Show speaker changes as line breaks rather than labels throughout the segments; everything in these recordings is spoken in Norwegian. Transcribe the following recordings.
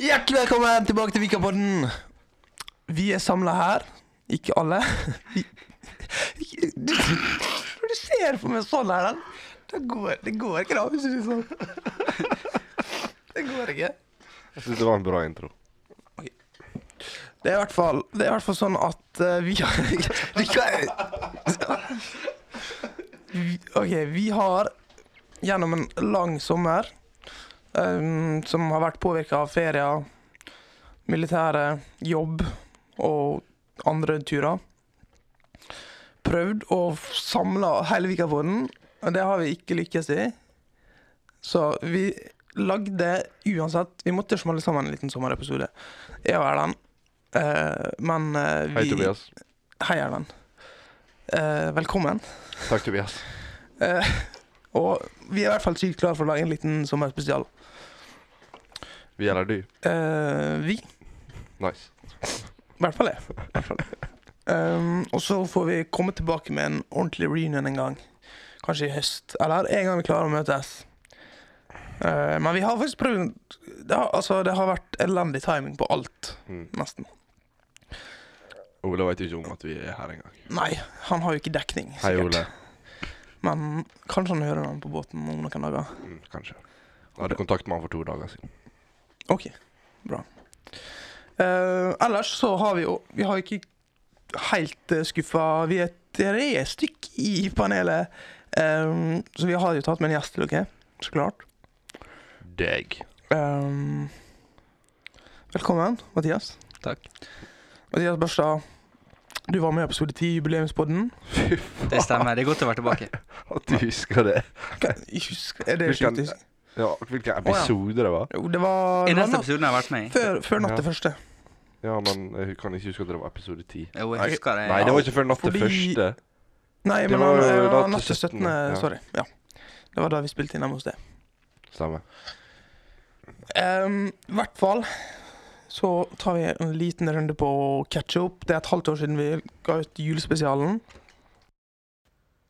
Hjertelig velkommen tilbake til Vikapodden. Vi er samla her. Ikke alle. Vi- Du, når du ser på meg sånn her, det går, det går ikke, da. Hvis du er sånn. Det går ikke.
Jeg syns det var en bra intro.
Det er i hvert fall, det er i hvert fall sånn at eh, vi har vi kan, Vi- OK, vi har gjennom en lang sommer ehm, som har vært påvirka av ferier, militære, jobb og andre turer, prøvd å samle hele Vikafjorden. Og det har vi ikke lykkes i. Så vi lagde uansett Vi måtte smelle sammen en liten sommerepisode. Jeg og Erlend. Eh, men eh, vi
Hei, Tobias.
Hei, Erlend. Eh, velkommen.
Takk, Tobias.
Eh, og vi er i hvert fall sykt klare for å lage en liten sommerspesial.
Vi eller du.
Eh, vi.
Nice.
I hvert fall jeg. I hvert fall. Um, og så får vi komme tilbake med en ordentlig reunion en gang. Kanskje i høst. Eller en gang vi klarer å møtes. Eh, men vi har faktisk prøvd det har, altså, det har vært elendig timing på alt,
Mm.
nesten.
Ole veit ikke om at vi er her engang.
Nei, han har jo ikke dekning,
Hei,
sikkert.
Ole.
Men kanskje han hører den på båten om noen dager.
Mm, kanskje. Jeg hadde kontakt med han for to dager siden.
Ok, bra. Eh, ellers så har vi jo Vi har ikke helt uh, skuffa Vi er tre stykk i panelet. Eh, så vi har jo tatt med en gjest til dere, så klart.
Deg.
Eh, velkommen, Mathias.
Takk.
Mathias Børstad, du var med i episode 10 i jubileumspodden.
Fy
Det
faen
stemmer. Det er godt å være tilbake.
at du husker det.
Hva- Husk, er det
Hvilken-
sjukt? husk?
Ja, Hvilken episode det var?
Jo, det var,
I
det var
neste
natt,
episode jeg har vært med i.
før, før natt til
Ja.
første.
Ja, men jeg kan ikke huske at det var episode ti.
Jo, jeg husker det.
Nei, det var ikke før natt til
Fordi-
første.
Nei,
Det
men
var jo
eh,
da til
natt til 17.
17., ja.
Sorry. Ja. Det var da vi spilte inn hjemme hos deg.
Stemmer.
Ehm, I hvert fall så tar vi en liten runde på ketchup. Det er et halvt år siden vi ga ut julespesialen.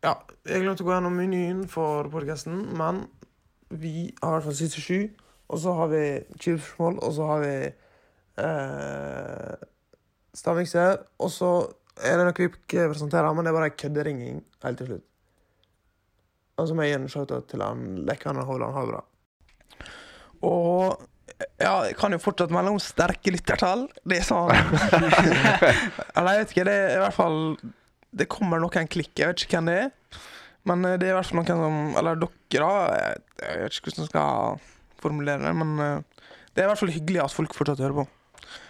Ja, jeg glemte å gå gjennom menyen for podkasten, men vi har i hvert fall siste sju. Og så har vi chipsmål, og så har vi eh, stavmikser. Og så er det noe vi ikke presenterer, men det er bare en kødderinging helt til slutt. Og så må jeg gi en shout-out til han Lekkan og Hovland. Ha det bra. Og ja, jeg kan jo fortsatt melde om sterke lyttertall. Det er sånn Eller jeg vet ikke, det er i hvert fall Det kommer noen klikk, jeg vet ikke hvem det er. Men eh, det er i hvert fall noen som Eller dere, da. Jeg, jeg vet ikke hvordan jeg skal formulere det, men eh, det er i hvert fall hyggelig at folk fortsatt hører på.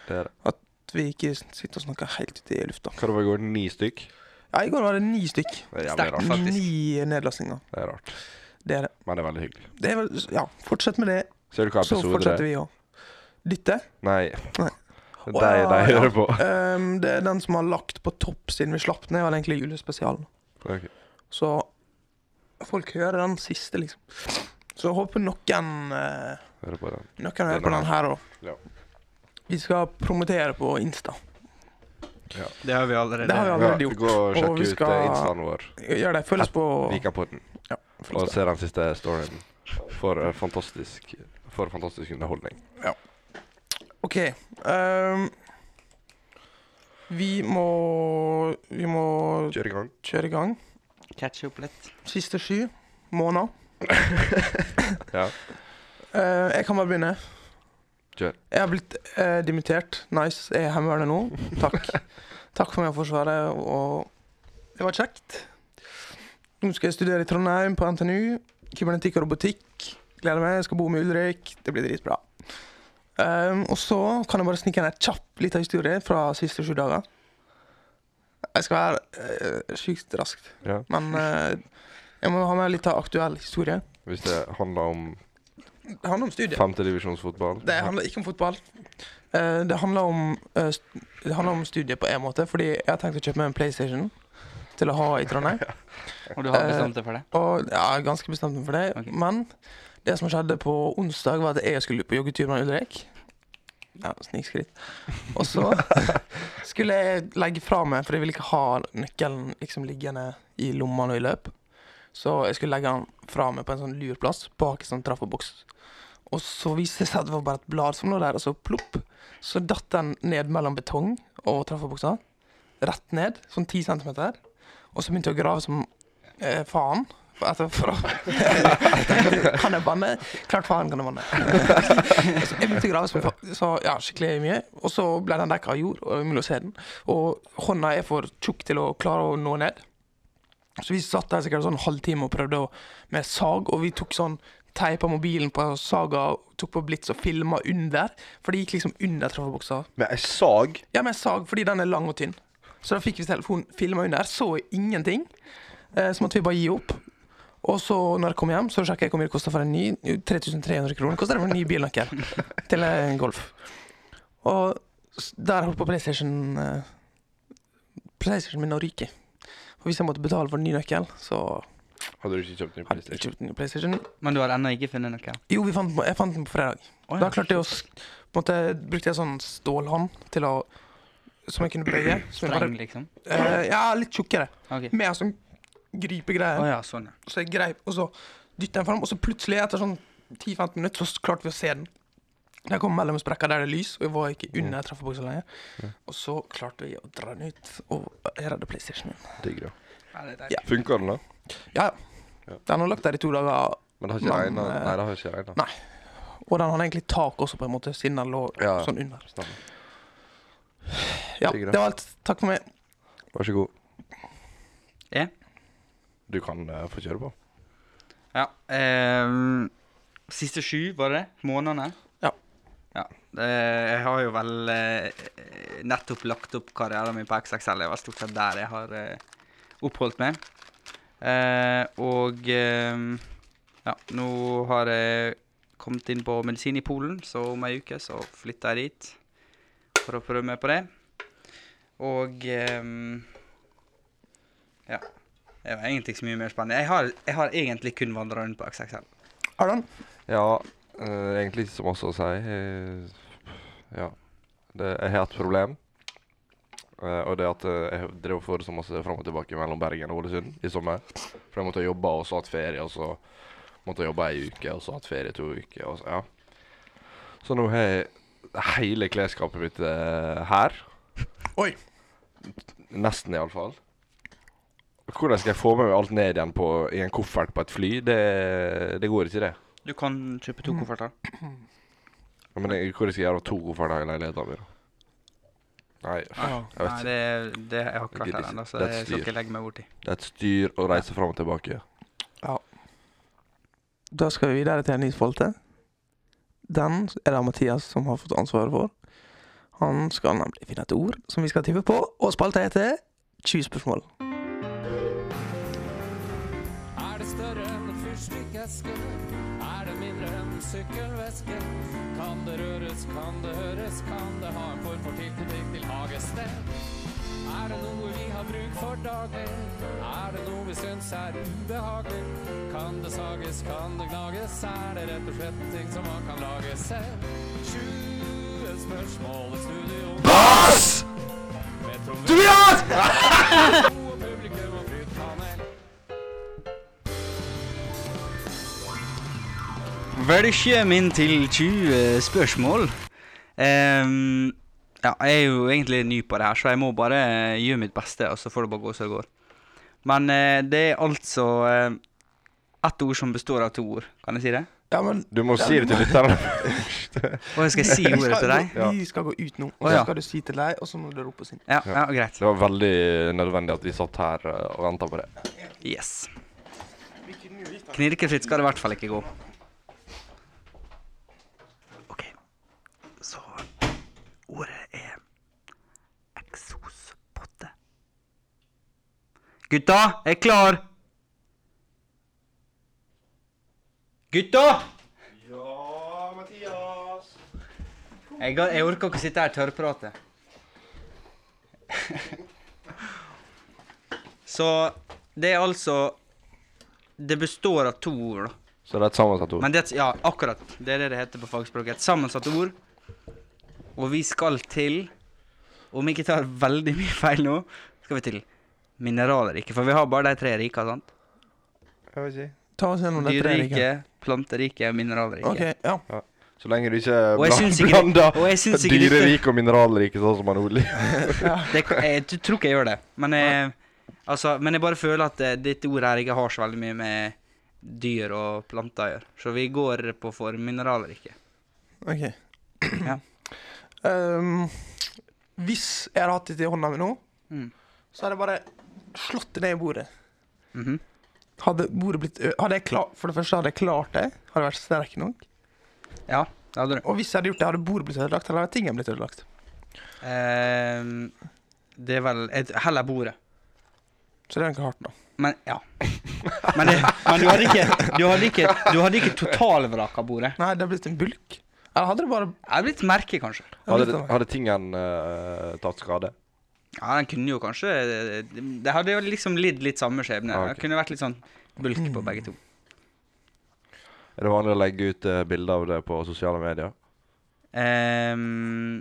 Det er det.
At vi ikke sitter og snakker helt ute i lufta.
Hva det var i går? Ni stykk?
Ja, I går var det ni stykk.
Det er jævlig
Sterkt.
rart.
Faktisk.
Ni nedlastninger.
Det er rart.
Det er det.
Men det er veldig hyggelig.
det er vel, ja, fortsett med det,
Ser du hva
så
episode det
fortsetter
er?
vi å dytte.
Nei.
Nei.
Det
Å,
er
ja,
de
ja.
hører på.
Ehm, det er den som har lagt på topp siden vi slapp den, er vel egentlig julespesialen.
Ok.
Så folk hører den siste, liksom. Så jeg håper noen eh,
Hører på den.
Noen hører
Den
på den her òg.
Ja.
Vi skal promotere på Insta.
Det har vi allerede.
Det har vi
Ja,
allerede gjort.
gå og
Og
sjekk
vi
ut
skal-
eh, instaen vår.
Gjør det. Følg oss på
Vikapodden.
Ja,
og se den siste storyen. For eh, fantastisk For fantastisk underholdning.
OK. ehm, vi må Vi må
Kjør i gang.
kjøre i gang.
Catch up litt.
Siste sju måneder.
Ja.
Eh, jeg kan bare begynne.
Kjør.
Jeg har blitt eh, dimittert. Nice. Jeg er hjemmeværende nå. Takk. Takk for meg og forsvaret, og det var kjekt. Nå skal jeg studere i Trondheim, på NTNU. Kybernetikk og robotikk. Gleder meg. Jeg skal bo med Ulrik. Det blir dritbra. Um, og så kan jeg bare snike inn en kjapp liten historie fra siste sju dager. Jeg skal være eh, sykt raskt,
Ja.
men eh, jeg må ha med litt av aktuell historie.
Hvis det handler om
Det handler om studiet.
femtedivisjonsfotball.
Det handler ikke om fotball. Eh, det, handler om, eh, st- det handler om studiet på en måte, fordi jeg har tenkt å kjøpe meg en PlayStation til å ha i Trondheim.
Og du har bestemt deg for det?
Og ja, jeg er ganske bestemt meg for det.
Ok.
Men det som skjedde på onsdag, var at jeg skulle på joggetur med Ulrik. Ja, snikskritt. Og så skulle jeg legge fra meg, for jeg ville ikke ha nøkkelen liksom liggende i lomma når jeg løp. Så jeg skulle legge den fra meg på en sånn lur plass, bak en sånn trappoboks. Og så viste det seg at det var bare et blad som lå der, og så plopp. Så datt den ned mellom betong og trafobuksa. Rett ned, sånn ti centimeter. Og så begynte jeg å grave som eh, faen. For- Altså, for å Kan jeg banne? Klart faen kan jeg banne. Så jeg begynte å grave som faen, så, ja, skikkelig mye. Og så ble den dekka av jord, og det var umulig å se den. Og hånda er for tjukk til å klare å nå ned. Så vi satt der sikkert en sånn halvtime og prøvde å, med sag, og vi tok sånn teipa mobilen på saga, tok på blitz og filma under. For det gikk liksom under trafobuksa.
Med ei sag?
Ja, med sag, fordi den er lang og tynn. Så da fikk vi telefonen filma under, så ingenting. Eh, så måtte vi bare gi opp. Og så når jeg kom hjem, så sjekka jeg hvor mye det kosta for en ny. Jo, 3300 kroner koster det for en ny bilnøkkel til en Golf. Og s- der holdt på PlayStation eh, PlayStation min å ryke. Og hvis jeg måtte betale for en ny nøkkel, så
Hadde du ikke kjøpt
hadde
ny
jeg
PlayStation?
ikke kjøpt en ny PlayStation.
Men du har ennå ikke funnet noe?
Jo, vi fant, den på- jeg fant den på fredag.
Å,
Da klarte jeg å sk- på en måte, brukte jeg sånn stålhånd til å som jeg kunne bøye. Som jeg bare
Streng, liksom?
Eh, ja, litt tjukkere.
Ok.
Med en sånn
Å
gripegreie.
ja, sånn, ja.
Så jeg greip, og så dytta jeg den fram, og så plutselig, etter sånn 10-15 minutter, så klarte vi å se den. Den kom mellom sprekker der det er lys, og jeg var ikke under treffeboksen lenger. Og så klarte vi å dra den ut og redde PlayStation min.
Digg, da.
ja det er
Ja.
deilig.
Funka den, da?
Ja, ja. Den har lagt der i to dager,
Men det har ikke
Men,
regna?
eh,
Nei, det har ikke regna.
nei. og den hadde egentlig tak også, på en måte, siden den lå
Ja.
sånn under.
Stemmer.
Ja,
Digg, da.
det var alt. Takk for meg.
Vær så god.
Ja.
Du kan eh, få kjøre på.
Ja. ehm, siste sju, var det det? Månedene?
Ja.
ja. Det, jeg har jo vel eh, nettopp lagt opp karrieren min på XXL. Det er vel stort sett der jeg har eh, oppholdt meg. Eh, og ehm, ja, nå har jeg kommet inn på medisin i Polen, så om ei uke så flytter jeg dit for å prøve meg på det. Og ehm, ja. Det var egentlig ikke så mye mer spennende. Jeg har, jeg har egentlig kun vandra rundt på XXL.
Har du den?
Ja, eh, egentlig ikke så masse å si. Eh, ja. Det, jeg har et problem. Eh, og det er at eh, jeg drev og for så masse fram og tilbake mellom Bergen og Ålesund i sommer. For jeg måtte jobbe, og så hatt ferie, og så måtte jeg jobbe ei uke, og så hatt ferie to uker. Og så, ja. så nå har jeg hele klesskapet mitt eh, her.
Oi.
Nesten, iallfall. Hvordan skal jeg få med meg alt ned igjen på, i en koffert på et fly? Det, det går ikke, det.
Du kan kjøpe to kofferter.
Ja, Men jeg, hvor skal jeg gjøre av to kofferter i leiligheten min? da? Nei, f-
Ja.
jeg
Nei,
vet ikke.
det, det jeg har ikke
Gidder
klart det
ikke.
ennå, så
Det er
det
et
skal
styr.
ikke legge meg borti.
Det er et styr å reise fram og tilbake.
Da skal vi videre til en ny spalte. Den er det Mathias som har fått ansvaret for. Han skal nemlig finne et ord som vi skal tippe på, og spalta heter 20 spørsmål.
Er det større enn en fyrstikkeske? Er det mindre enn en sykkelveske? Kan det røres, kan det høres, kan det ha en form for tilknytning til hagested? Er det noe vi har bruk for daglig? Er det noe vi syns er ubehagelig? Kan det sages, kan det gnages? Er det rett og slett ting som man kan lage selv? 20 spørsmål i studio. Bass! Tobias! publikum og flytpanel.
Velkommen til 20 spørsmål. Ehm, ja, jeg er jo egentlig ny på det her, så jeg må bare eh, gjøre mitt beste, og så får det bare gå som det går. Men eh, det er altså eh, ett ord som består av to ord. Kan jeg si det?
Ja, men
Du må si det til lytterne.
Og jeg skal si
vi
ordet
skal,
til deg?
gå- vi skal gå ut nå, og
Å,
så
ja.
skal du si til deg, og så må du rope oss inn.
Ja, ja greit.
Det var veldig nødvendig at vi satt her eh, og venta på det.
Yes. Knirkefritt skal det i hvert fall ikke gå. OK. Så ordet er eksospotte. Gutta, jeg er klar! Gutta! Ja, Mathias. Jeg, ga- jeg orker ikke å sitte her og tørrprate. Så det er altså Det består av to ord, da.
Så det er et sammensatt ord.
Men det, ja, akkurat. Det er det det heter på fagspråket. Et sammensatt ord. Og vi skal til Om jeg ikke tar veldig mye feil nå, skal vi til mineralriket. For vi har bare de tre rika, sant?
Jeg vet ikke.
Ta oss gjennom det tre rike.
Dyrerike, planterike og mineralrike.
Ok, ja.
Så lenge du ikke
Og jeg syns ikke,
blander
og jeg syns ikke dette-
dyrerik og mineralrik sånn som han Ole.
Det, jeg t- tror ikke jeg gjør det, men jeg, altså, men jeg bare føler at eh, dette ordet her ikke har så veldig mye med dyr og planter å gjøre. Så vi går på for mineralrike.
ok.
Ja.
Ehm, hvis jeg hadde hatt dette i hånda mi nå,
Mm.
så hadde jeg bare slått det ned i bordet.
Mhm.
Hadde bordet blitt ø hadde jeg klar For det første hadde jeg klart det. Hadde jeg vært sterk nok.
Ja, det hadde du.
Og hvis jeg hadde gjort det, hadde bordet blitt ødelagt, eller hadde tingen blitt ødelagt.
Ehm, det er vel et, Heller bordet.
Så det er egentlig hardt, da.
Men ja. Men, det, men du hadde ikke Du hadde ikke, du hadde ikke totalvraka bordet.
Nei, det hadde blitt en bulk. Eller hadde det bare
Det hadde blitt et merke, kanskje.
hadde
Hadde,
blitt en-
hadde tingen eh, tatt skade?
Ja, den kunne jo kanskje Det hadde jo liksom lidd litt samme skjebne.
Ah, ok.
Det kunne vært litt sånn bulk på begge to.
Er det vanlig å legge ut eh, bilder av det på sosiale medier?
Ehm,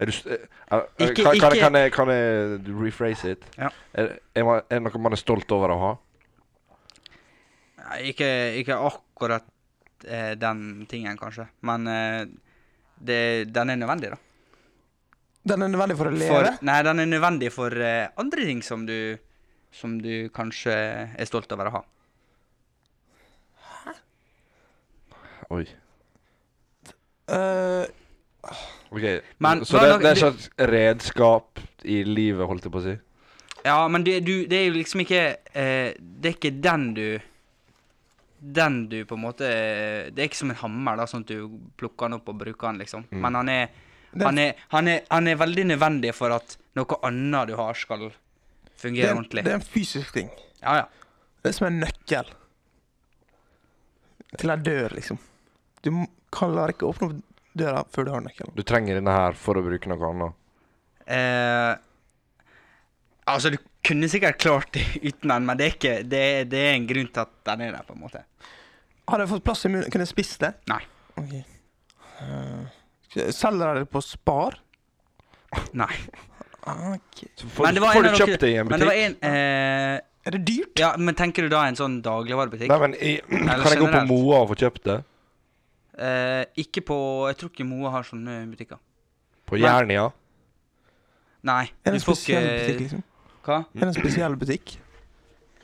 Er du, s- eh, er, eh,
Ikke-
kan, kan,
ikke-
kan, jeg, kan jeg rephrase it?
Ja.
Er, er, man, er det noe man er stolt over å ha?
Nei, ikke, ikke akkurat eh, den tingen, kanskje. Men eh, det, den er nødvendig, da.
Den er nødvendig for å leve.
For, nei, den er nødvendig for eh, andre ting som du, som du kanskje er stolt over å ha.
Oi.
Eh,
Ok,
Men-
Så det,
men-
det er et slags redskap i livet, holdt jeg på å si?
Ja, men det, du, det er jo liksom ikke eh, Det er ikke den du Den du på en måte eh, Det er ikke som en hammer, da, sånn at du plukker den opp og bruker den, liksom.
Mm.
Men han er,
Den-
han, er, han, er, han er veldig nødvendig for at noe annet du har, skal
det,
fungere
er en,
ordentlig.
det er en fysisk ting.
Ja, ja.
Det er som en nøkkel. Til jeg dør, liksom. Du m- klarer ikke å åpne opp døra før du har nøkkelen.
Du trenger denne her for å bruke noe annet.
Eh, altså, du kunne sikkert klart det uten den, men det er, ikke, det, er- det er en grunn til at den er der, på en måte.
Hadde jeg fått plass i munnen, kunne jeg spist det?
Nei.
Ok. Eh, selger jeg det på Spar?
Nei.
Ah, ok.
Så får,
Men
du-
var
får
en
du
av dere-
kjøpt det i en
Men det
butikk?
var en, eh,
Er det dyrt?
ja, men tenker du da en sånn dagligvarebutikk?
Nei, men i, Kan jeg gå på
generelt.
Moa og få kjøpt det?
Eh, ikke på Jeg tror ikke Moa har sånne butikker.
På
Nei.
Jernia?
Nei.
Er det
du
en
får
spesiell
ikke-
butikk, liksom?
Hva?
Er det en spesiell butikk?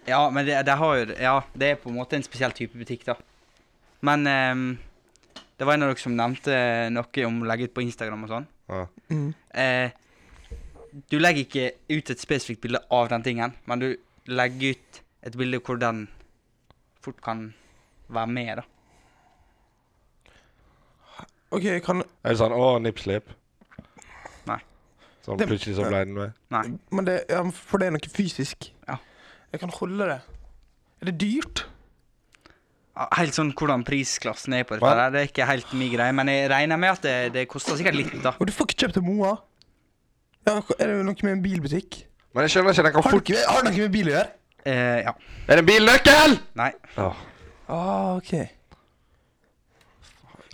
Ja, men det, det har jo Ja, det er på en måte en spesiell type butikk, da. Men ehm, det var en av dere som nevnte noe om å legge ut på Instagram og sånn.
Ja.
Mm.
Eh, du legger ikke ut et spesifikt bilde av den tingen, men du legger ut et bilde hvor den fort kan være med, da.
Ok, kan
Er det sånn Å, nippslip?
Nei.
Sånn
Det-
plutselig så ble den med?
Nei.
Men det, ja, for det er noe fysisk.
Ja.
Jeg kan holde det. Er det dyrt?
Ah, Helt sånn hvordan prisklassen er på dette
Hva?
der, det er ikke helt min greie, men jeg regner med at det, det koster sikkert litt, da.
Og du får ikke kjøpt det Moa. Ja, er det noe med en bilbutikk?
Men jeg skjønner ikke, den kan
Har det
fort
ikke, har det ikke med bil å gjøre?
Eh, ja.
Er det en bilnøkkel?!
Nei.
Åh,
Ah, ok.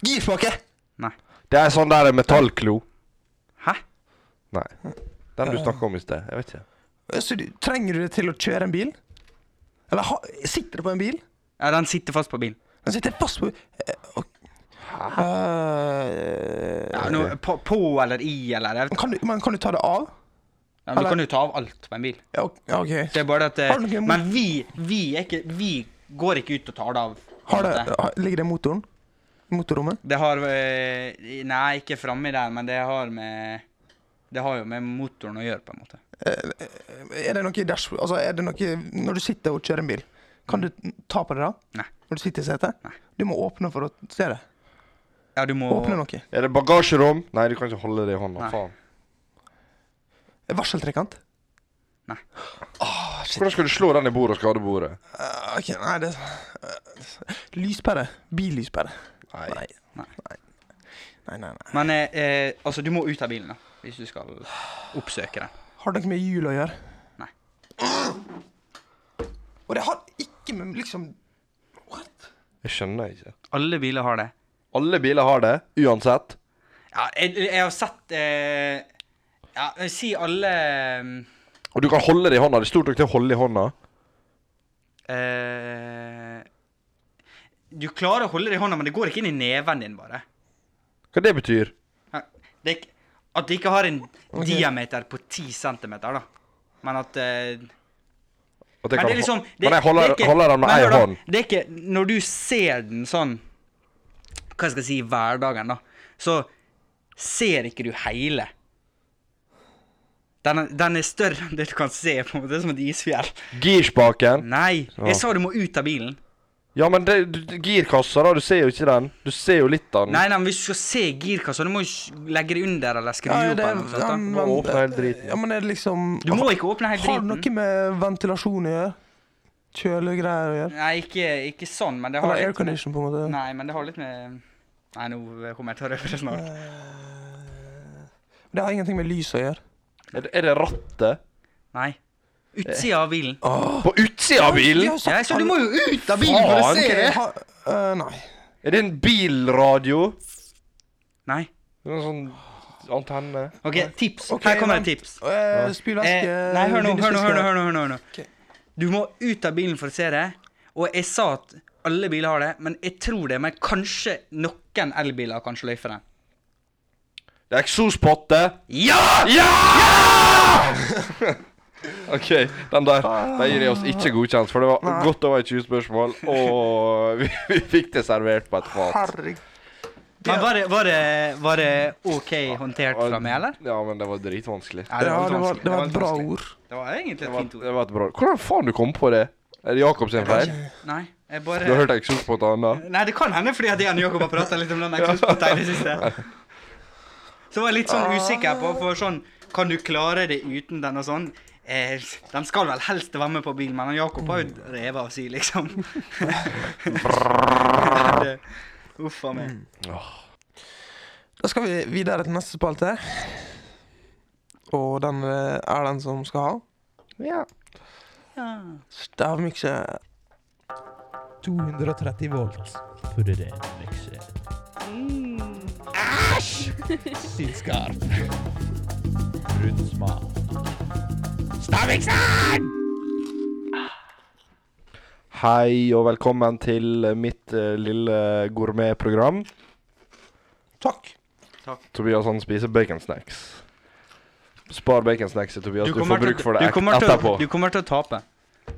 Girspake!
Nei.
det er sånn der metallklo.
Hæ?
Nei. Den du snakka om i sted. Jeg vet ikke.
Så du, trenger du det til å kjøre en bil? Eller ha, sitter det på en bil?
Ja, den sitter fast på bilen.
Den sitter fast på eh, og, Eh,
Ja, nå, på, på eller i eller jeg vet,
kan du, Men kan du ta det av?
ja, men Du kan jo ta av alt på en bil.
Ja, ok- ja, ok.
Det er bare det
Har
at
du noe
eh,
imot-
Men vi, vi er ikke Vi går ikke ut og tar det av. på en
Har det,
måte.
har- ligger det i motoren? I Motorrommet?
Det har eh, Nei, ikke framme der, men det har med Det har jo med motoren å gjøre, på en måte.
Er det noe i dash... Altså, er det noe Når du sitter og kjører en bil, kan du ta på det da?
Nei.
Når du sitter i setet?
Nei.
Du må åpne for å se det.
Ja, du må
Åpne noe.
Er det bagasjerom? Nei, du kan ikke holde det i hånda.
Nei.
Faen.
Varseltrekant?
Nei.
Åh, shit.
Hvordan skal du slå den i bordet og skade bordet?
Eh, ok, nei, det eh, Lyspære. Billyspære.
Nei.
Nei.
Nei.
Nei, nei, nei.
Men eh, eh, altså, du må ut av bilen, da. Hvis du skal oppsøke den.
Har det noe med jul å gjøre?
Nei.
Og det har ikke med liksom What?
Jeg skjønner ikke.
Alle biler har det.
Alle biler har det, uansett.
Ja, jeg, jeg har sett eh, Ja, si alle mm,
Og du kan holde det i hånda. Det er stort nok til å holde i hånda.
eh, Du klarer å holde det i hånda, men det går ikke inn i neven din, bare.
Hva det betyr?
Det er ikke, at det ikke har en
Ok.
diameter på 10 cm, da. Men at eh,
At jeg
Men det
kan,
er liksom
men jeg holder,
det er ikke-
holder den med
men hør
ei
da,
hånd.
Det er ikke Når du ser den sånn Hva skal jeg si i hverdagen, da, så ser ikke du hele. Den er, den er større enn det du kan se, på en måte. Det er som et isfjell.
Girspaken.
Nei,
Ja. Mm.
jeg sa du må ut av bilen.
Ja, men det, du, girkassa, da. Du ser jo ikke den. Du ser jo litt av den.
Nei, nei, men hvis du skal se girkassa, du må jo s- legge det under eller skru
Ja,
opp.
det
eller
er,
noe sånt,
ja,
da.
men,
Må åpne hele driten.
ja, men er det liksom
Du må ikke åpne hele
Har det noe
driten.
med ventilasjon å gjøre? Kjølegreier å gjøre?
Nei, ikke, ikke sånn, men det har
Eller
litt med,
aircondition, på en måte?
Nei, men det har litt med Nei, nå kommer jeg til å røpe det snart.
Det har ingenting med lys å gjøre.
Er det, er det rattet?
Nei. Utsida av bilen.
På utsida av bilen?
Ja, så du må jo ut av bilen
Faen,
for å se det!
ha, øh, Nei.
Er det en bilradio?
Nei.
Det er En sånn antenne?
OK, tips.
Ok,
Her kommer
vent.
et tips.
Uh,
Eh,
Spyleske
nei, hør nå, hør nå, hør nå. hør nå, hør nå, hør nå.
Ok.
Du må ut av bilen for å se det. Og jeg sa at alle biler har det, men jeg tror det. Men kanskje noen elbiler kan sløyfe den.
Det er eksospotte!
Ja!
Ja! OK, den der Den gir jeg oss ikke godkjent, for det var godt over 20 spørsmål, og vi, vi fikk det servert på et fat.
Herregud.
Men var det, var det, var det OK håndtert fra meg, eller?
Ja, men det var dritvanskelig.
Ja,
Nei,
det var,
litt vanskelig.
det var et
litt
bra
vanskelig.
ord.
Det var egentlig
Det
et
var,
fint ord.
det var et bra Hvordan faen du kom på det? Er det Jakob sin feil?
Nei, jeg
Du har
bare
hørt eksospotte annet?
Nei, det kan hende fordi at jeg og Jakob har prata litt om den eksosporten i det siste. Så var jeg litt sånn usikker på, for sånn Kan du klare det uten den og sånn? Eh, den skal vel helst være med på bilen, men han Jakob har jo revet av si, liksom. Det- Uff a meg.
Da skal vi videre til neste spalte. Og den eh, er den som skal ha.
Ja.
Stavmikser.
230 volt. Furremikser. Æsj! Sylskarp. Rund smak.
Hei og velkommen til mitt eh, lille gourmetprogram.
Takk.
Tobias han spiser baconsnacks. Spar baconsnacks til Tobias,
Du
du, får
kommer,
bruk
til,
for det
du,
et-
kommer
etterpå.
til, du kommer til å tape.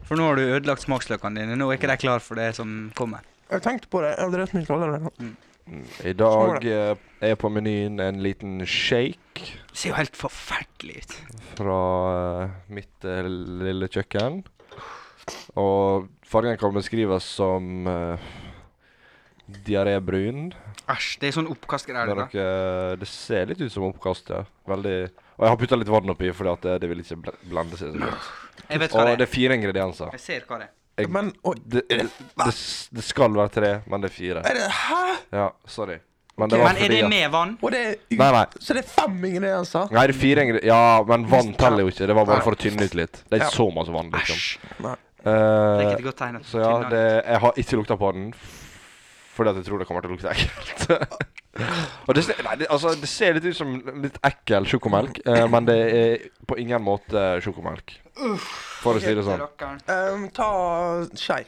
For nå har du ødelagt smaksløkene dine. Nå er ikke de klar for det som kommer.
Jeg tenkte på det. Jeg har drevet mye allerede.
I dag eh, er på menyen en liten shake
Det ser jo helt forferdelig ut.
fra eh, mitt eh, lille kjøkken. Og fargen kan beskrives som uh, diarébrun.
Æsj, det er sånn oppkastgreier.
Det,
da.
dere- eh, det ser litt ut som oppkast, ja. Veldig Og jeg har putta litt vann oppi, fordi at det, det vil ikke bl blande seg så godt.
Jeg vet hva
Og
det
det
er.
er fire ingredienser.
Jeg ser hva det er.
Jeg,
Men oi,
det, det, det, s- det skal være tre, men det er fire.
er det, Hæ?
Ja, sorry. Men det var
Eh. Men er
fordi
det
at
med vann?
Og det er ut.
Nei, nei.
Så det er fem ingredienser?
Nei, det er fire ingredienser Ja, men vann teller jo ikke. Det var bare for å tynne ut litt. Det er
Ja.
ikke så masse vann, liksom.
Æsj.
Nei.
Det er
Eh,
ikke et godt tegn. at
så ja,
tynner
det, jeg har ikke lukta på den. f- Fordi at jeg tror det kommer til å lukte ekkelt. Og det, ser- nei, det, altså, det ser litt ut som litt ekkel sjokomelk, eh, men det er på ingen måte sjokomelk. For å si det sånn.
Rakkeren.
Um, ta skei.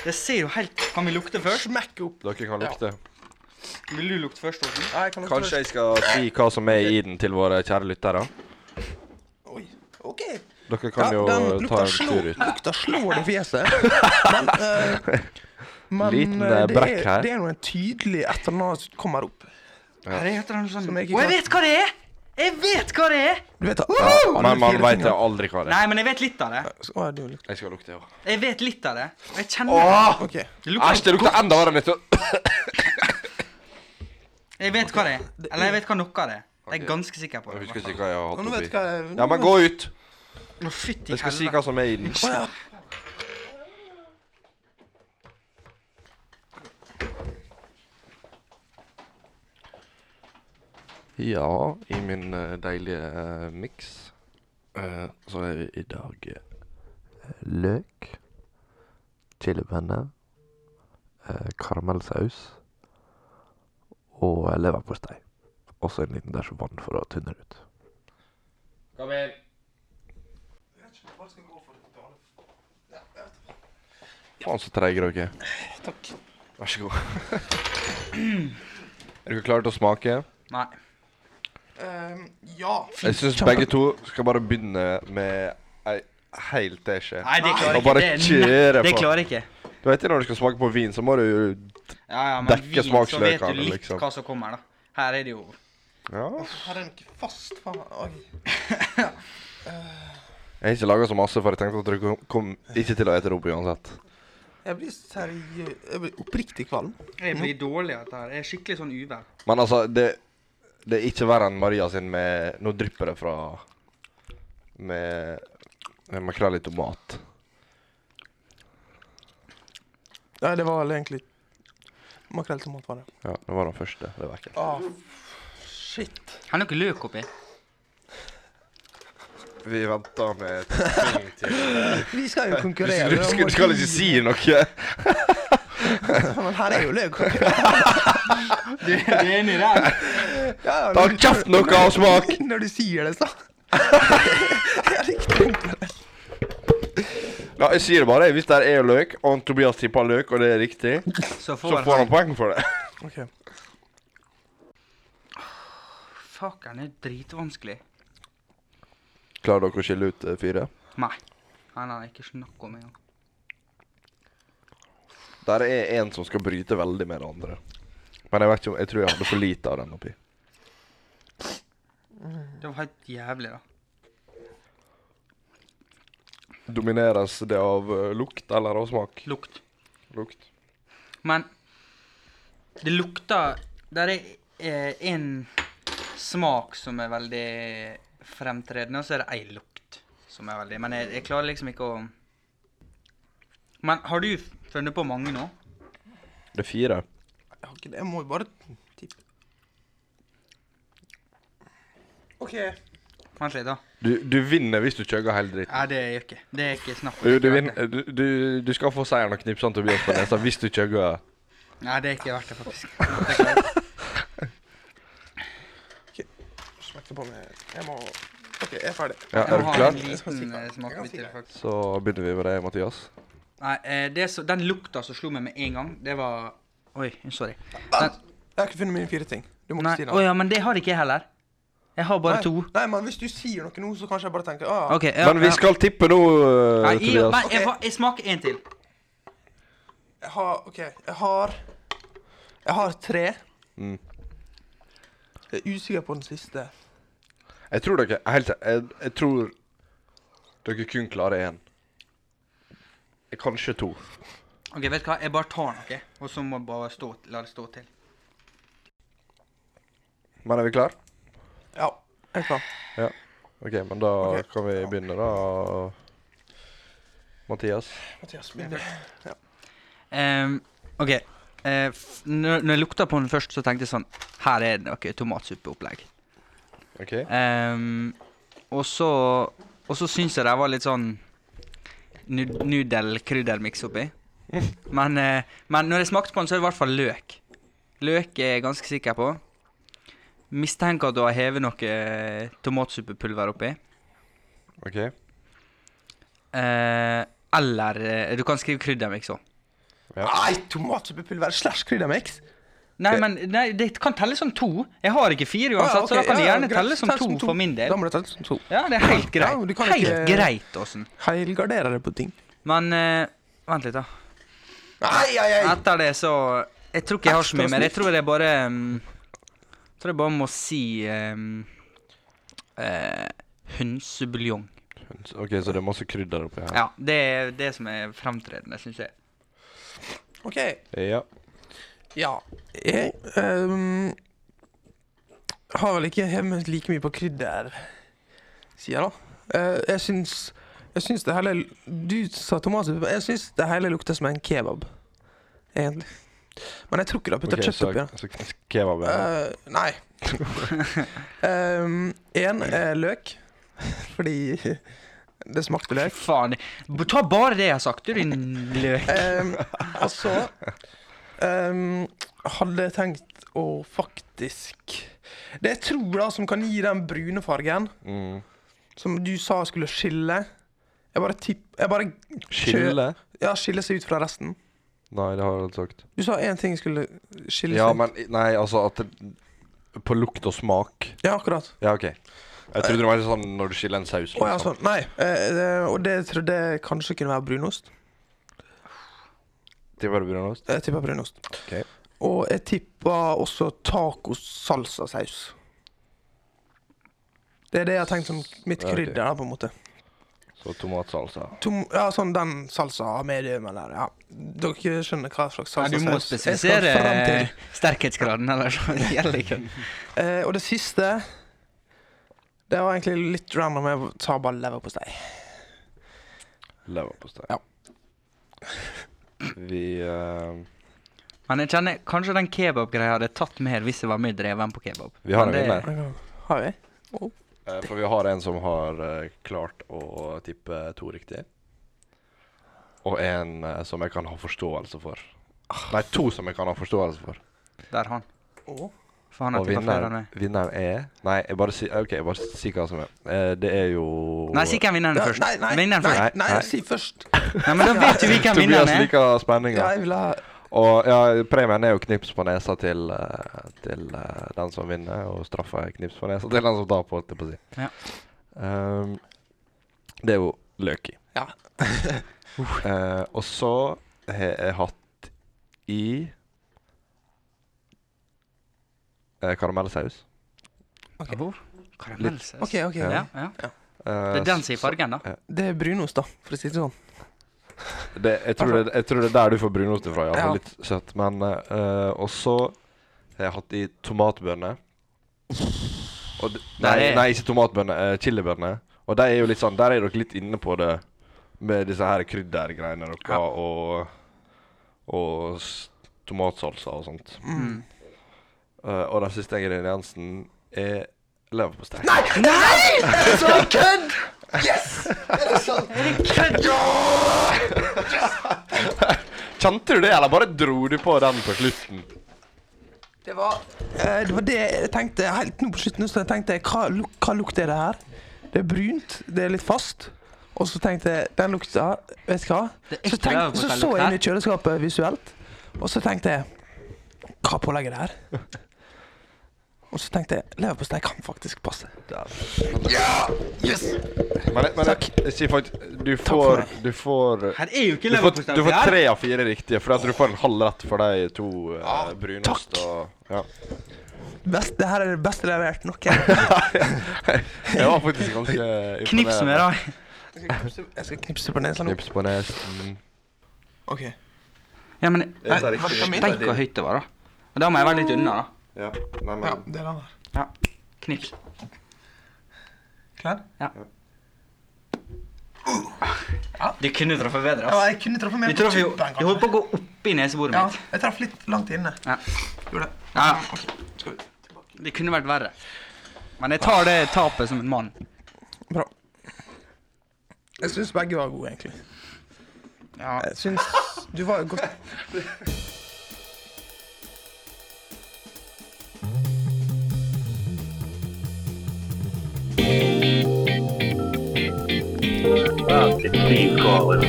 Det ser jo helt Kan vi lukte først?
Smekk opp.
Dere kan lukte.
Vil du lukte først, Åsen?
Nei, kan du
Kanskje jeg skal si hva som er i den til våre kjære lyttere.
Oi. OK.
Dere kan
ja,
jo
den
ta
lukta
en
slår,
tur ut.
lukta slår i fjeset. Men, eh, men
Liten,
eh,
eh,
det,
brekk
er,
her.
det er noe tydelig etternavn som kommer opp.
Ja. Det heter noe sånn
Som
Å,
jeg ikke
jeg
kan-
vet hva det er! Jeg vet hva det er!
Du vet det?
Men man veit aldri hva det er.
Nei, men jeg vet litt av det.
Å, ja, det er jo lukta.
Jeg skal lukte, ja.
Jeg vet litt av det. Og Jeg kjenner
Åh!
OK.
det. lukter-
Æsj, det lukter enda verre enn dette.
Jeg vet hva det er. Eller jeg vet hva noe av det er. Jeg er
Ok.
ganske sikker på
Jeg husker
det.
ikke hva jeg har
Nå nå vet
hatt
hva
oppi.
jeg
Ja, men gå ut.
Å, fytti
Jeg skal si
helvete.
hva som er i den.
Å, ja.
Ja, i min eh, deilige uh, miks eh, så er det i dag eh, løk, chilipenne, eh, karamellsaus og eh, leverpostei. Også en liten dæsj vann for å tynne det ut. Faen, så treig røyk er.
Takk.
Vær så god. er dere klare til å smake?
Nei.
Ehm, ja.
Jeg syns begge to skal bare begynne med ei hel teskje.
Nei, det klarer
Og bare
ikke. Det,
kjøre
nei, det
på.
klarer ikke.
Du vet jo når du skal smake på vin, så må du jo
Ja, ja, men
Dekke
vi, så vet
smaksløkene,
du litt
liksom.
hva som kommer, da. Her er det jo
Ja.
Her er den ikke fast, faen. Oi.
Jeg har ikke laga så masse, for jeg tenkte at dere kom, kom ikke til å ete det opp uansett.
Jeg blir seriøs Jeg blir oppriktig kvalm.
Jeg blir
Mhm.
dårlig av dette her. Jeg er skikkelig sånn uvær.
Men altså, det, det er ikke verre enn Maria sin med Nå drypper det fra med, med makrell i tomat.
Nei, det var vel egentlig makrell tomat, var det.
Ja, det var den første. Det var ekkelt.
Ah, shit.
Har dere løk oppi?
Vi venter med ting til
Vi skal jo
Du,
konkurrere. om
skal,
å
du skal
gi-
ikke si noe.
Men her er jo løk.
Du er enig i det?
Ja, ja,
Ta
når du-
kjeft noe og smak!
Når du sier det, så.
Ja, jeg sier det bare. Hvis det er løk, og Tobias tipper løk, og det er riktig, så
Så får
får
han
han poeng for det.
Ok.
Fuck, han er dritvanskelig.
Klarer dere å skille ut eh, fire?
Nei. Han har jeg ikke snakk om engang.
Der er en som skal bryte veldig med det andre. Men jeg vet ikke om, jeg tror jeg hadde for lite av den oppi.
Det var helt jævlig, da.
Domineres det av eh, lukt eller av smak?
Lukt.
Lukt.
Men det lukter Der er eh, en smak som er veldig fremtredende, og så er det ei lukt som er veldig Men jeg, jeg klarer liksom ikke å Men har du funnet på mange nå?
Det er fire.
Jeg har ikke det. Jeg må jo bare tippe. OK.
Vent litt, da.
Du, du vinner hvis du kjøgger hele dritten.
Nei, det gjør jeg ikke. Det er ikke snakk om.
Du,
Det er
du,
ikke verdt
vinner, du, du, du skal få seieren og knipse han Tobias på nesa hvis du kjøgger.
det. Nei, det er ikke verdt det, faktisk. Det er ikke verdt det.
Smakte på meg. Jeg må OK, jeg er ferdig.
Ja,
Jeg
er du
må ha en
klar?
liten eh, smakebit til, faktisk.
Så begynner vi med deg, Mathias.
Nei, eh, det som- den lukta som slo meg med en gang, det var Oi, sorry. Den,
Ah, Jeg har ikke funnet mine fire ting. Du må
nei,
ikke si det.
å ja, men det har ikke jeg heller. Jeg har bare
Nei,
to.
Nei, men hvis du sier noe nå, så kanskje jeg bare tenker ah,
OK. Ja,
Men vi
ja.
skal tippe nå, eh,
Nei, jeg, nei,
Tobias.
jeg, fa- jeg smaker en til.
jeg har, OK, jeg har Jeg har tre.
Mm.
Jeg er usikker på den siste.
Jeg tror dere helt, jeg, jeg tror dere kun klarer én. Kanskje to.
OK, vet du hva? Jeg bare tar noe, og så må jeg bare stå, la det stå til.
Men er vi klar?
Ja. Jeg er klar.
OK, men da
Ok.
kan vi begynne, da. Mathias.
Mathias, begynner.
Ehm, OK. eh, f- når, når jeg lukta på den først, så tenkte jeg sånn Her er det noe tomatsuppeopplegg.
OK?
Ehm, og så Og så syns jeg det var litt sånn nud- nudel-krydder-miks oppi. Men, eh, men når jeg smakte på den, så er det i hvert fall løk. Løk er jeg ganske sikker på. Mistenker at du har hevet noe eh, tomatsuppepulver oppi.
ok.
Eh, eller eh, Du kan skrive kryddermiks òg.
Nei, tomatsuppepulver slash kryddermix.
Nei, men nei, det kan telle som to. Jeg har ikke fire
Ah,
uansett, så da kan det gjerne telle som to for min del.
Da må det telle som to.
Ja, det er helt
Ja,
greit.
du kan
helt
ikke-
greit, Åsen.
Heilgardere deg på ting.
Men eh, vent litt, da.
Nei, ei, ei.
Etter det så Jeg tror ikke jeg har så mye
Ekstra
mer. Jeg tror jeg bare mm, Jeg tror jeg bare må si um, eh, hønsebuljong.
Ok, Så det er masse krydder oppi her.
Ja, det er det som er fremtredende, syns jeg.
OK.
Ja.
Ja. Jeg ehm, har vel ikke hjemme like mye på krydder, sier jeg da. Eh, jeg syns Jeg syns det hele Du sa tomatsuppe, men jeg syns det hele lukter som en kebab, egentlig. Men jeg tror ikke det har putta
Ok,
kjøtt
så,
oppi den.
så kebab. ja.
Eh, nei. Én er løk, fordi det smakte løk.
Faen. b- Ta bare det jeg har sagt, du, din løk.
Ehm, og så ehm, hadde jeg tenkt å faktisk Det jeg tror da som kan gi den brune fargen
Mm.
som du sa skulle skille, Jeg bare tipp Jeg bare
Skille?
Ja, skille seg ut fra resten.
Nei, det har jeg aldri sagt.
Du sa én ting skulle skille
Ja,
seg ut.
men Nei, altså at det, På lukt og smak.
Ja, akkurat.
Ja, OK. Jeg trodde det var sånn når du skiller en saus. liksom.
Å ja, sånn. Nei. Eh, det- og det trodde jeg kanskje kunne være brunost.
Til bare brunost.
Jeg tipper brunost.
Ok.
Og jeg tipper også tacosalsasaus. Det er det jeg har tenkt som mitt
Ja, ok.
krydder, da, på en måte.
Så tomatsalsa.
Tom, ja, sånn den salsa medium, eller ja. Dere skjønner hva slags
Ja,
salsasaus
du må
jeg skal
spesifisere
fram til.
sterkhetsgraden, ellers så gjelder ikke.
Eh, og det siste Det var egentlig litt random. Jeg tar bare leverpostei.
Leverpostei.
Ja.
Vi eh,
Men jeg kjenner kanskje den kebabgreia hadde jeg tatt mer hvis jeg var mer dreven på kebab.
Vi har
Men
en
det-
vinner.
Har vi?
Eh, For vi har en som har eh, klart å tippe to riktig. Og en eh, som jeg kan ha forståelse for. Nei, to som jeg kan ha forståelse for.
Der han.
Å.
For han har
Og
tippa flere enn
vinneren,
meg.
vinneren er Nei, jeg bare sier OK, jeg bare sier hva som er. Eh, Det er jo
Nei, si hvem vinneren er først.
nei, nei,
vinneren
nei,
først.
nei,
Nei.
si først.
Nei, men da vet jo vi hvem
Tobias
vinneren er.
liker spenninga.
Ja, jeg vil ha
Og ja, premien er jo knips på nesa til, eh, til eh, den som vinner, og straffa er knips på nesa til den som taper, holdt jeg på å si.
Ja.
Ehm, det er jo løk i.
Ja.
Eh, og så har jeg hatt i eh, karamellsaus.
Ok.
Hvor? Karamellsaus.
OK, OK.
Ja, ja.
Eh,
Det er den som er i fargen, da.
Det er brunost, da, for å si det sånn.
Det, jeg, tror det, jeg tror det er der du får brunost ifra. Ja.
Ja.
Litt søtt. Men eh, Og så har jeg hatt i tomatbønner. Og d-
Der
nei,
er-
nei, ikke tomatbønner. eh, chilibønner. Og de er jo litt sånn Der er dere litt inne på det med disse her kryddergreiene dere
Ja.
har, og, og s- tomatsalsa og sånt.
Mm.
Eh, og den siste ingrediensen er leverpostei. Kjente du det, eller bare dro du på den på slutten?
Det var, eh, det var det jeg tenkte helt nå på slutten. Så jeg tenkte hva, luk, hva lukt er det her? Det er brunt, det er litt fast. Og så tenkte jeg den lukta Vet du hva?
Det er
Så,
ekte
tenk, så, så
leverposteilukt
jeg
her.
inn i kjøleskapet visuelt, og så tenkte jeg Hva pålegg er det her? Og så tenkte jeg leverpostei kan faktisk passe.
Men, men
Takk.
jeg sier faktisk Du
for
får, du får
Her er jo
Du
ikke
får,
leverpostei
du får
oppi her.
tre av fire riktige, for at du får en halv rett for de to eh, brunost
takk.
og ja.
Best, det her er det beste levert nok. Jeg
Jeg var faktisk ganske imponert.
Knips med, da.
jeg skal knipse på nesa nå.
Knips på nesen.
Ok.
Ja, men
Det er riktig.
Tenk hvor høyt det var, da. Og da må jeg være litt unna, da.
Ja. Nei, men
Ja, det er den her.
Knips.
Klar?
Du kunne truffet
Ja,
bedre. ass.
jeg kunne treffe mer
Du traff jo
tuppen,
Du
kanskje.
holdt på å gå oppi neseboret
Ja,
mitt.
jeg traff litt langt inne.
Ja.
Gjorde det.
Ja,
Ah, Skal vi-
Det kunne vært verre. Men jeg tar det tapet som en mann.
Bra. Jeg syns begge var gode, egentlig.
Ja.
Jeg syns du var godt
up. It's Steve calling.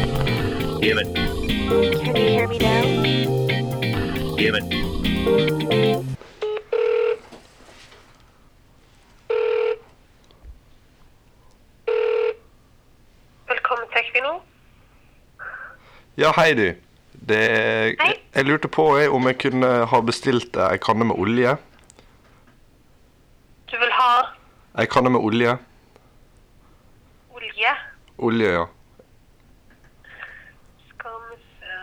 Give it.
Can you hear me now?
Give it.
Velkommen til Equinor.
Ja, hei, du. Det er-
Hei.
Jeg lurte på jeg, om jeg kunne ha bestilt eh, ei kanne med olje.
Du vil ha
Ei kanne med olje.
olje.
Olje, ja.
Skal vi se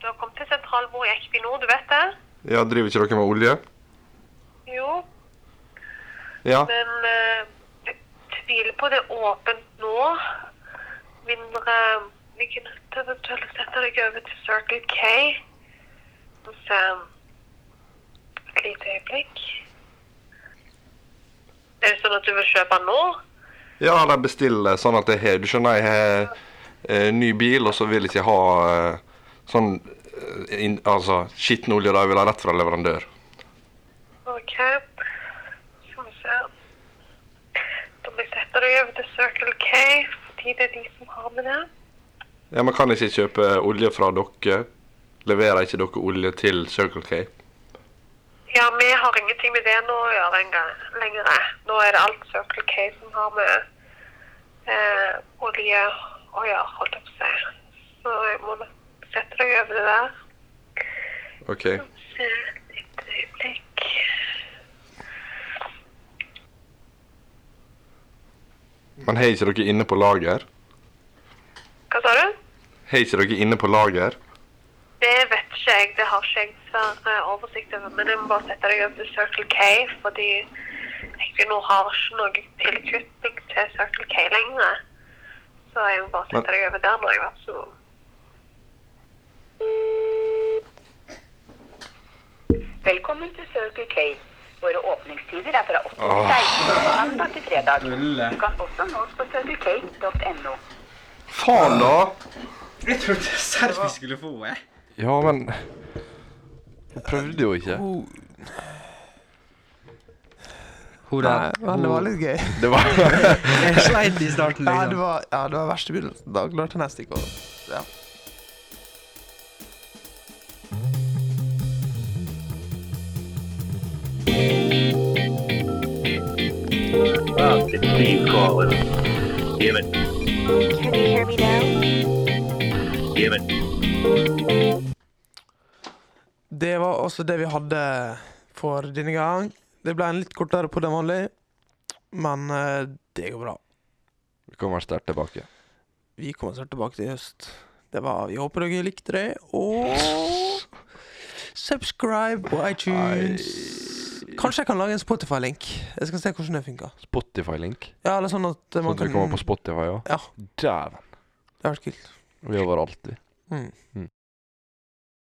Du har kommet til sentralbordet i Equinor, du vet det?
Ja, Driver ikke dere med olje?
Jo,
Ja.
men eh, jeg tviler på det er åpent nå. Mindre Vi kunne eventuelt sette deg over til Circle K. Og se Et lite øyeblikk. Er det sånn at du vil kjøpe nå?
Ja, eller bestille sånn at jeg har Du skjønner, jeg har eh, ny bil, og så vil jeg ikke ha eh, sånn eh, inn- Altså skitten olje, da. Jeg vil ha rett fra leverandør.
OK. Skal vi se Da må jeg sette setter deg over til Circle K, fordi det er de som har med det.
Ja, Man kan ikke kjøpe olje fra dere. Leverer ikke dere olje til Circle K?
Ja, vi har ingenting med det nå å gjøre engang lenger. Nå er det alt Circle K som har med eh, olje å gjøre, holdt jeg på å si. Så jeg må nok sette deg over det der.
OK.
Se, Et øyeblikk.
Men har ikke dere inne på lager?
Hva sa du?
Har ikke dere inne på lager?
Det vet ikke jeg. Det har ikke jeg dessverre oversikt over. Men jeg må bare sette deg over til Circle K, fordi Equinor har ikke noe tilknytning til Circle K lenger. Så jeg må bare
Men-
sette deg over der når jeg har vært så
Velkommen til Circle K. Våre åpningstider er fra 8
Åh.
til 16 på mandag til fredag.
Ulle.
Du kan også nås på circlek.no.
Faen, da!
Jeg trodde serr vi skulle få henne.
Ja, men Hun prøvde jo ikke.
Hun
Nei,
der.
men det var litt gøy.
Det var
Jeg sleit i starten,
Ja, det
liksom.
var, ja, det var verste begynnelsen. Da klarte jeg nesten ikke å ja.
Bob, it's Steve calling. Give it,
Can you hear me now?
give it.
Det var også det vi hadde for denne gang. Det ble en litt kortere på enn vanlig, men eh, det går bra.
Vi kommer sterkt tilbake.
Vi kommer snart tilbake til høst. Det var, Vi håper dere likte det, og subscribe på iTunes. Kanskje jeg kan lage en Spotify-link. Jeg skal se hvordan det funker.
Spotify-link.
Ja, eller sånn at
Sånn
man
at vi
kan
kommer på Spotify, ja.
Ja,
Dæven.
det har vært kult.
Vi er overalt, vi.
Mm.
Mm.